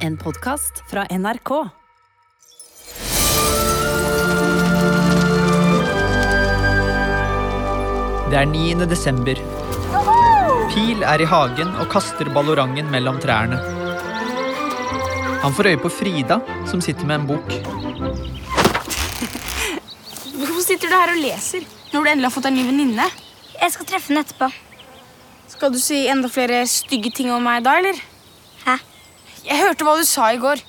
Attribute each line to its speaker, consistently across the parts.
Speaker 1: En podkast fra NRK.
Speaker 2: Det er 9. desember. Pil er i hagen og kaster ballorangen mellom trærne. Han får øye på Frida, som sitter med en bok.
Speaker 3: Hvorfor sitter du her og leser når du endelig har fått deg en ny venninne?
Speaker 4: Jeg skal treffe henne etterpå.
Speaker 3: Skal du si enda flere stygge ting om meg da, eller?
Speaker 4: Hæ?
Speaker 3: Jeg hørte hva du sa i går.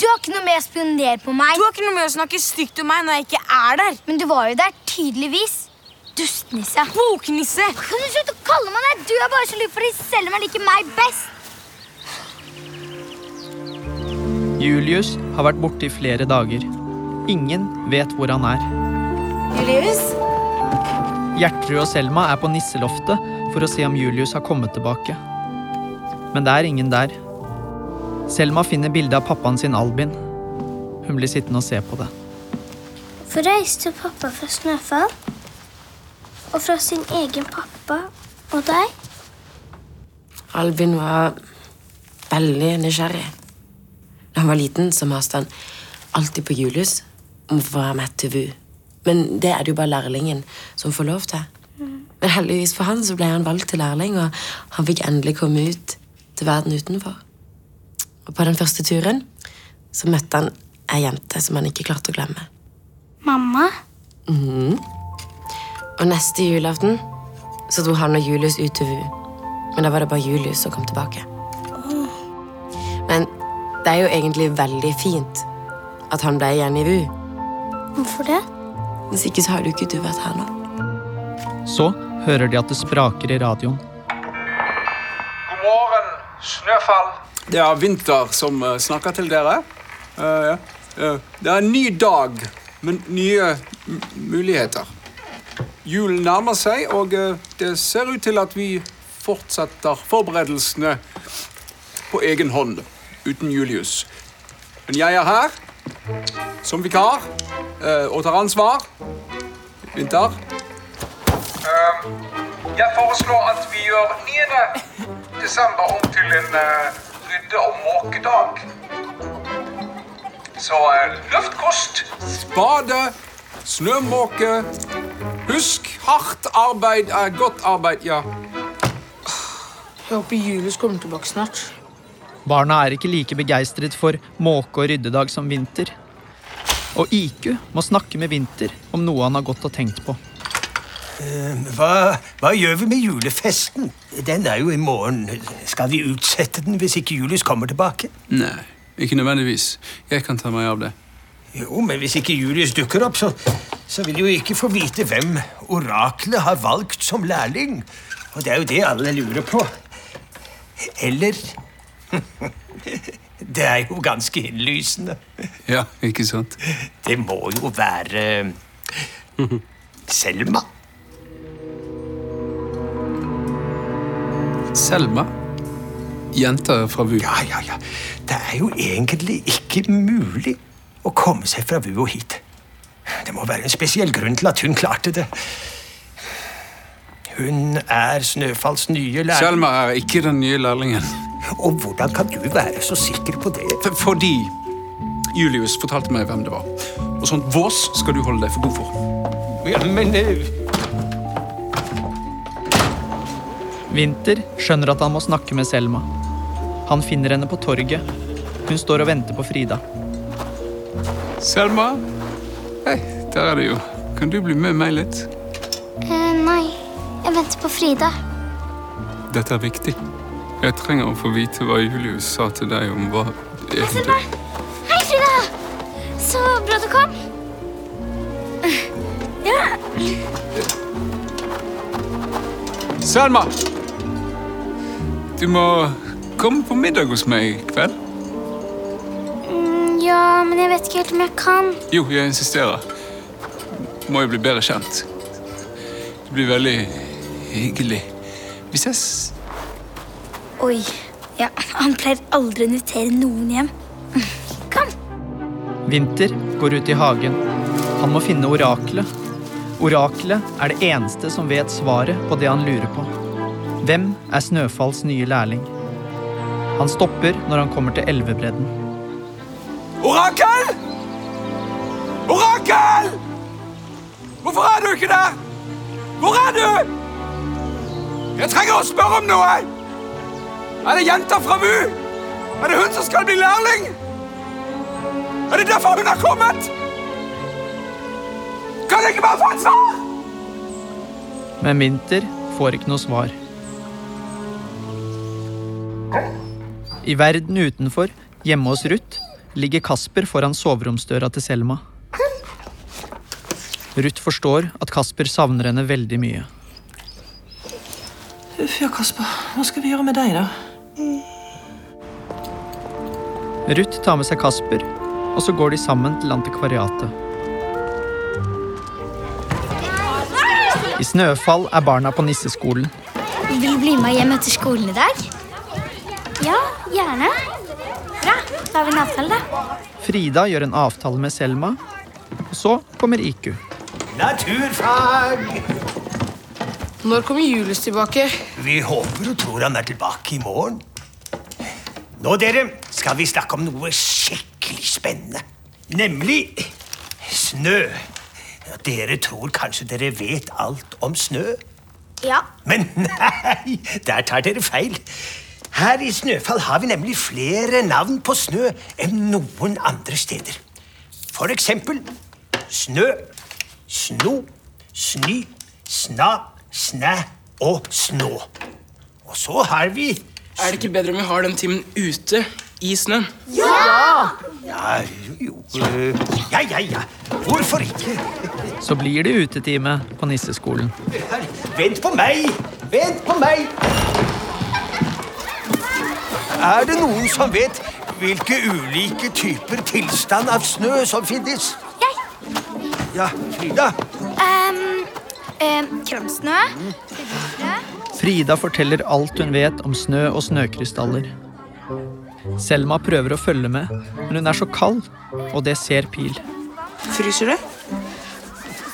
Speaker 4: Du har ikke noe med å spionere på meg.
Speaker 3: Du har ikke noe med å snakke stygt om meg når jeg ikke er der.
Speaker 4: Men du var jo der, tydeligvis. Dustnisse.
Speaker 3: Boknisse!
Speaker 4: Kan du slutte å kalle meg det? Du er bare så lur for de selv om jeg liker meg best.
Speaker 2: Julius har vært borte i flere dager. Ingen vet hvor han er.
Speaker 3: Julius?
Speaker 2: Gjertrud og Selma er på nisseloftet for å se om Julius har kommet tilbake. Men det er ingen der. Selma finner bildet av pappaen sin Albin. Hun blir sittende og se på det.
Speaker 5: For reiste pappa fra Snøfall og fra sin egen pappa og deg.
Speaker 6: Albin var veldig nysgjerrig. Da han var liten, så maste han alltid på Julius om å få være med til VU. Men det er det jo bare lærlingen som får lov til. Men heldigvis for han så ble han valgt til lærling, og han fikk endelig komme ut til verden utenfor. Og på den første turen så møtte han ei jente som han ikke klarte å glemme.
Speaker 5: Mamma.
Speaker 6: Og neste julaften så dro han og Julius ut til VU. Men da var det bare Julius som kom tilbake. Men det er jo egentlig veldig fint at han ble igjen i VU.
Speaker 5: Hvorfor det?
Speaker 6: Hvis ikke så har jo ikke du vært her nå.
Speaker 2: Så hører de at det spraker i radioen.
Speaker 7: God morgen, Snøfall.
Speaker 8: Det er Vinter som eh, snakker til dere. Eh, ja. Eh, Det er en ny dag, men nye m- muligheter. Julen nærmer seg, og eh, det ser ut til at vi fortsetter forberedelsene på egen hånd, uten Julius. Men jeg er her som vikar eh, og tar ansvar. Vinter.
Speaker 7: Jeg foreslår at vi gjør 9. desember om til en eh, rydde- og måkedag. Så eh, luftkost
Speaker 8: Bade, snømåke. Husk, hardt arbeid er godt arbeid, ja.
Speaker 3: Jeg håper Julius kommer tilbake snart.
Speaker 2: Barna er ikke like begeistret for måke- og ryddedag som Vinter. Og IQ må snakke med Vinter om noe han har gått og tenkt på.
Speaker 9: Hva, hva gjør vi med julefesten? Den er jo i morgen. Skal vi utsette den hvis ikke Julius kommer tilbake?
Speaker 8: Nei, ikke nødvendigvis. Jeg kan ta meg av det.
Speaker 9: Jo, men hvis ikke Julius dukker opp, så, så vil jo ikke få vite hvem oraklet har valgt som lærling. Og det er jo det alle lurer på. Eller Det er jo ganske innlysende.
Speaker 8: Ja, ikke sant?
Speaker 9: Det må jo være Selma.
Speaker 8: Selma. Jenta fra VU.
Speaker 9: Ja, ja, ja. Det er jo egentlig ikke mulig å komme seg fra VU og hit. Det må være en spesiell grunn til at hun klarte det. Hun er Snøfalls nye lærer.
Speaker 8: Selma er ikke den nye lærlingen.
Speaker 9: Og hvordan kan du være så sikker på det?
Speaker 8: F fordi Julius fortalte meg hvem det var. Og sånt vås skal du holde deg for god for.
Speaker 9: Ja, men eh,
Speaker 2: Vinter skjønner at han må snakke med Selma. Han finner henne på torget. Hun står og venter på Frida.
Speaker 8: Selma? Hei, der er du jo. Kan du bli med meg litt?
Speaker 5: Eh, nei, jeg venter på Frida.
Speaker 8: Dette er viktig. Jeg trenger å få vite hva Julius sa til deg om hva
Speaker 5: Selma! Hei, Frida! Så bra du kom.
Speaker 8: Selma! Du må komme på middag hos meg i kveld.
Speaker 5: Mm, ja, men jeg vet ikke helt om jeg kan.
Speaker 8: Jo, jeg insisterer. Må jo bli bedre kjent. Det blir veldig hyggelig. Vi ses.
Speaker 4: Oi. Ja, han pleier aldri å invitere noen hjem. Kom.
Speaker 2: Vinter går ut i hagen. Han må finne oraklet. Oraklet er det eneste som vet svaret på det han lurer på. Hvem er Snøfalls nye lærling? Han stopper når han kommer til elvebredden.
Speaker 10: Orakel! Orakel! Hvorfor er du ikke der? Hvor er du? Jeg trenger å spørre om noe! Er det jenta fra VU? Er det hun som skal bli lærling? Er det derfor hun har kommet? Kan jeg ikke bare få et svar?
Speaker 2: Men Winter får ikke noe svar. I verden utenfor, hjemme hos Ruth, ligger Kasper foran soveromsdøra til Selma. Ruth forstår at Kasper savner henne veldig mye.
Speaker 9: Uff, ja, Kasper. Hva skal vi gjøre med deg, da?
Speaker 2: Ruth tar med seg Kasper, og så går de sammen til antikvariatet. I Snøfall er barna på nisseskolen.
Speaker 4: Vil du bli med hjem etter skolen i dag?
Speaker 11: Ja, gjerne. Bra. Da har vi en avtale, da.
Speaker 2: Frida gjør en avtale med Selma, og så kommer IQ.
Speaker 9: Naturfag!
Speaker 12: Når kommer Julius tilbake?
Speaker 9: Vi håper og tror han er tilbake i morgen. Nå, dere, skal vi snakke om noe skikkelig spennende. Nemlig snø. Ja, Dere tror kanskje dere vet alt om snø,
Speaker 4: Ja.
Speaker 9: men nei, der tar dere feil. Her i Snøfall har vi nemlig flere navn på snø enn noen andre steder. For eksempel snø, sno, sny, sna, snæ og snå. Og så har vi
Speaker 12: Er det ikke bedre om vi har den timen ute i snøen?
Speaker 9: Ja, jo, jo. øh, Ja, ja, ja. Hvorfor ikke?
Speaker 2: Så blir det utetime på nisseskolen.
Speaker 9: Her, vent på meg! Vent på meg! Er det noen som vet hvilke ulike typer tilstand av snø som finnes? Ja, Frida.
Speaker 11: Ehm, ehm, Kromsnø.
Speaker 2: Frida forteller alt hun vet om snø og snøkrystaller. Selma prøver å følge med, men hun er så kald, og det ser Pil.
Speaker 13: Fryser du?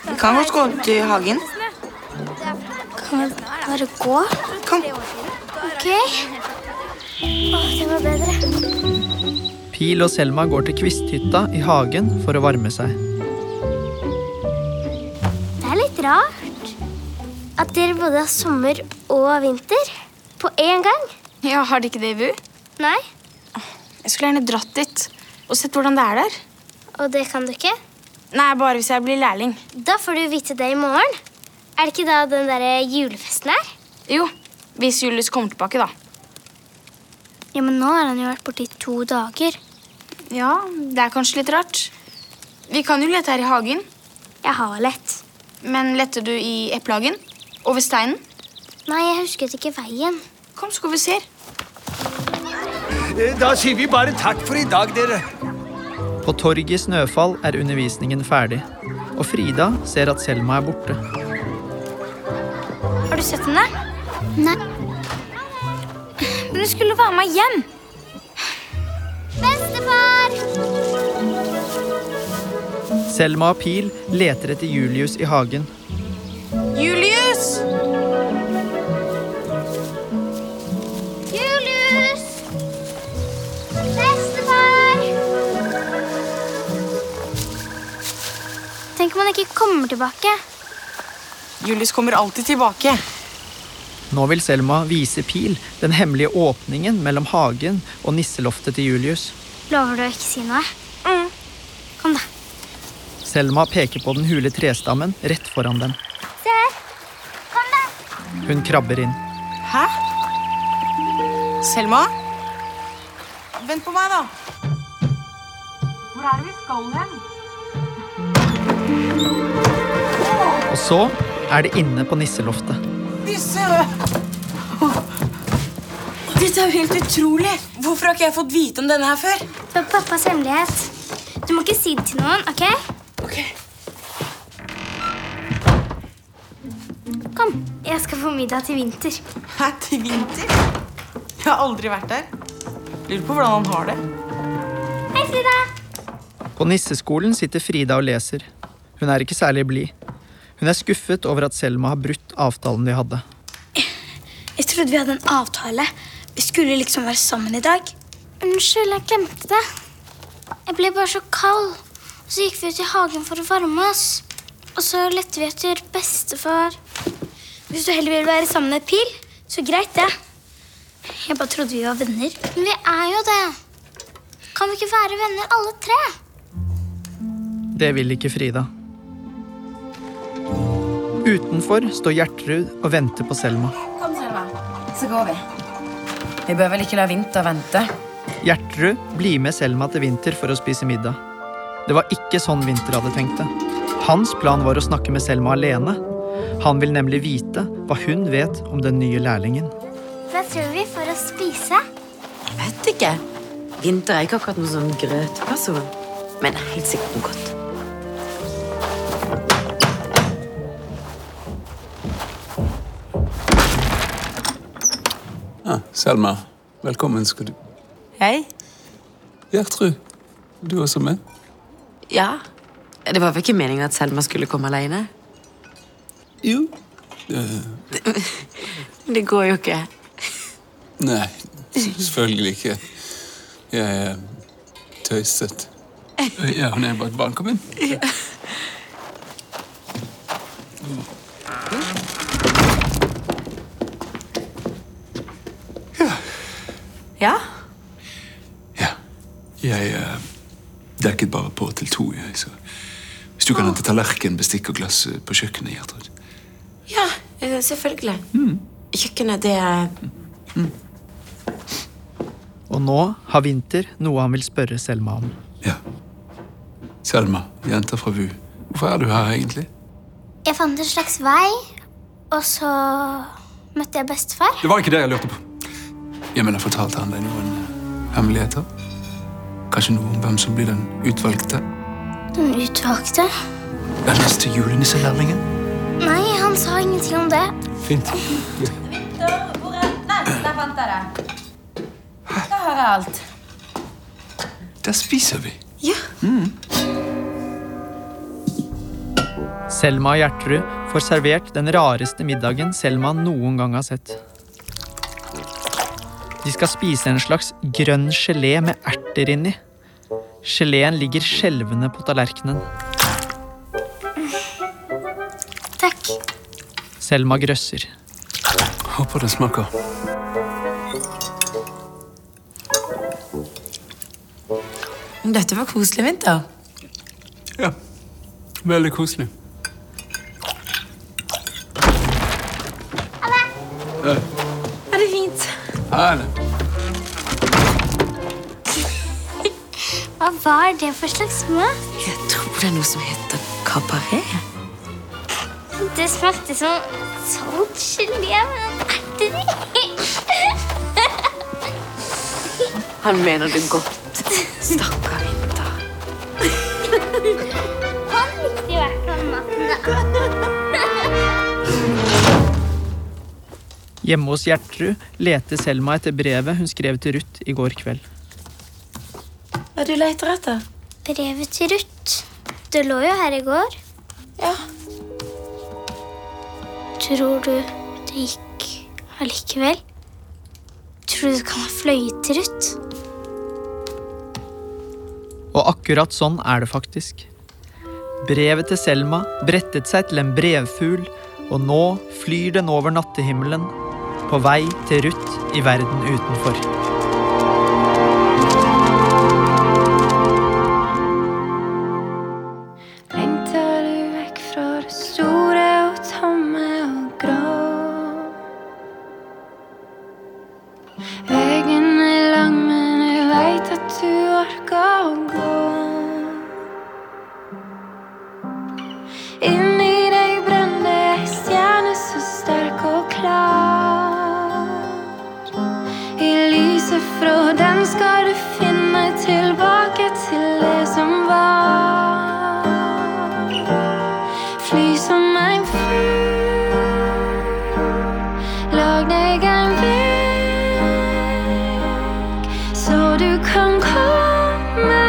Speaker 13: Vi kan godt gå ut i hagen.
Speaker 4: Kan vi bare gå?
Speaker 13: Kom.
Speaker 4: Ok. Å, det var bedre.
Speaker 2: Pil og Selma går til kvisthytta i hagen for å varme seg.
Speaker 4: Det er litt rart at dere både har sommer og vinter på én gang.
Speaker 3: Ja, Har de ikke det i VU?
Speaker 4: Nei,
Speaker 3: Jeg skulle gjerne dratt dit og sett hvordan det er der.
Speaker 4: og det kan du ikke.
Speaker 3: Nei, bare hvis jeg blir lærling.
Speaker 4: Da får du vite det i morgen. Er det ikke da den derre julefesten er?
Speaker 3: Jo, hvis Julius kommer tilbake, da.
Speaker 4: Ja, men nå har han jo vært borte i to dager.
Speaker 3: Ja, det er kanskje litt rart. Vi kan jo lete her i hagen.
Speaker 4: Jeg har lett.
Speaker 3: Men lette du i eplehagen? Over steinen?
Speaker 4: Nei, jeg husket ikke veien.
Speaker 3: Kom, så går vi og ser.
Speaker 9: Eh, Da sier vi bare takk for i dag, dere.
Speaker 2: På torget i Snøfall er undervisningen ferdig, og Frida ser at Selma er borte.
Speaker 11: Har du sett henne?
Speaker 4: Nei.
Speaker 11: Men du skulle være med hjem.
Speaker 4: Bestefar!
Speaker 2: Selma og Pil leter etter Julius i hagen.
Speaker 3: Julius!
Speaker 4: Julius! Bestefar! Tenk om han ikke kommer tilbake.
Speaker 12: Julius kommer alltid tilbake.
Speaker 2: Nå vil Selma vise Pil den hemmelige åpningen mellom hagen og nisseloftet til Julius.
Speaker 4: Lover du å ikke si noe? Mm. Kom, da.
Speaker 2: Selma peker på den hule trestammen rett foran dem.
Speaker 4: Se her. Kom, da.
Speaker 2: Hun krabber inn.
Speaker 12: Hæ? Selma? Vent på meg, da.
Speaker 13: Hvor er det vi skal hen?
Speaker 2: Og så er det inne på nisseloftet.
Speaker 12: Disse Dette er jo helt utrolig! Hvorfor har ikke jeg fått vite om denne her før?
Speaker 4: Det var pappas hemmelighet. Du må ikke si det til noen, OK?
Speaker 12: Ok.
Speaker 4: Kom, jeg skal få middag til vinter.
Speaker 12: Hæ, til vinter? Jeg har aldri vært der. Lurer på hvordan han har det.
Speaker 4: Hei, Frida.
Speaker 2: På nisseskolen sitter Frida og leser. Hun er ikke særlig blid. Hun er skuffet over at Selma har brutt avtalen de hadde.
Speaker 11: Jeg trodde vi hadde en avtale Vi skulle liksom være sammen i dag.
Speaker 4: Unnskyld, jeg glemte det. Jeg ble bare så kald. Så gikk vi ut i hagen for å varme oss. Og så lette vi etter bestefar.
Speaker 11: Hvis du heller vil være sammen med Pil, så greit det. Jeg bare trodde vi var venner.
Speaker 4: Men vi er jo det. Kan vi ikke være venner alle tre?
Speaker 2: Det vil ikke Frida. Utenfor står Gjertrud og venter på Selma.
Speaker 14: Kom, Selma. Så går vi. Vi bør vel ikke la Vinter vente?
Speaker 2: Gjertrud blir med Selma til Vinter for å spise middag. Det var ikke sånn Vinter hadde tenkt det. Hans plan var å snakke med Selma alene. Han vil nemlig vite hva hun vet om den nye lærlingen.
Speaker 4: Hva tror vi for å spise?
Speaker 6: Jeg vet ikke. Vinter er ikke akkurat noen sånn grøtperson. Men helt sikkert noe godt.
Speaker 8: Ah, Selma, velkommen skal du
Speaker 6: Hei.
Speaker 8: Gjertrud, du også med?
Speaker 6: Ja. Det var vel ikke meningen at Selma skulle komme alene?
Speaker 8: Jo. Eh,
Speaker 6: Det går jo ikke.
Speaker 8: nei, selvfølgelig ikke. Jeg er tøyset. Ja, hun er bare et barn. Kom inn.
Speaker 14: Ja?
Speaker 8: Jeg eh, dekket bare på til to. Jeg, så. Hvis du kan hente tallerken, bestikk og glass eh, på kjøkkenet, Gjertrud.
Speaker 6: Ja, eh, selvfølgelig.
Speaker 14: Mm.
Speaker 6: Kjøkkenet, det er
Speaker 2: Og nå har Vinter noe han vil spørre Selma om.
Speaker 8: Selma, jenta fra VU. Hvorfor er du her egentlig?
Speaker 4: Jeg fant en slags vei, og så møtte jeg bestefar.
Speaker 8: Det var ikke det jeg lurte på. Jeg mener, fortalte han deg noen eh, hemmeligheter? Kanskje noe om hvem som blir den utvalgte?
Speaker 4: Den utvalgte?
Speaker 8: Den neste julenisselærlingen?
Speaker 4: Nei, han sa ingenting om det.
Speaker 8: Fint.
Speaker 14: Nei, der fant jeg det. Da har jeg alt.
Speaker 8: Der spiser vi.
Speaker 14: Ja.
Speaker 2: Selma og Gjertrud får servert den rareste middagen Selma noen gang har sett. De skal spise en slags grønn gelé med erter inni. Geleen ligger skjelvende på tallerkenen.
Speaker 4: Takk.
Speaker 2: Selma grøsser.
Speaker 8: Håper det smaker.
Speaker 6: Dette var koselig, Vinter.
Speaker 8: Veldig koselig. Eh,
Speaker 6: Er det fint?
Speaker 8: her er det.
Speaker 4: Hva var det for slags mat?
Speaker 6: Jeg tror det er noe som heter kabaret.
Speaker 4: Det smakte som salt gelé med erter i.
Speaker 6: Han mener det godt. Stakkar
Speaker 4: Han likte i hvert fall maten.
Speaker 2: Hjemme hos Gjertrud leter Selma etter brevet hun skrev til Ruth i går kveld.
Speaker 6: Hva du leter etter?
Speaker 4: Brevet til Ruth. Det lå jo her i går. Ja. Tror du det gikk allikevel? Tror du det kan ha fløyet til Ruth?
Speaker 2: Og akkurat sånn er det faktisk. Brevet til Selma brettet seg til en brevfugl, og nå flyr den over nattehimmelen, på vei til Ruth i verden utenfor.
Speaker 15: Lengter du vekk fra det store og tomme og grå? Veien er lang, men jeg veit at du orker å gå. Inni deg brenner ei stjerne så sterk og klar. I lyset fra den skal du finne tilbake til det som var. Fly som en fugl. Lag deg en vegg, så du kan komme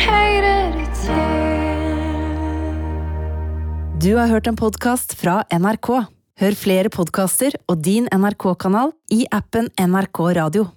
Speaker 4: høyrer det til.
Speaker 1: Du har hørt en podkast fra NRK. Hør flere podkaster og din NRK-kanal i appen NRK Radio.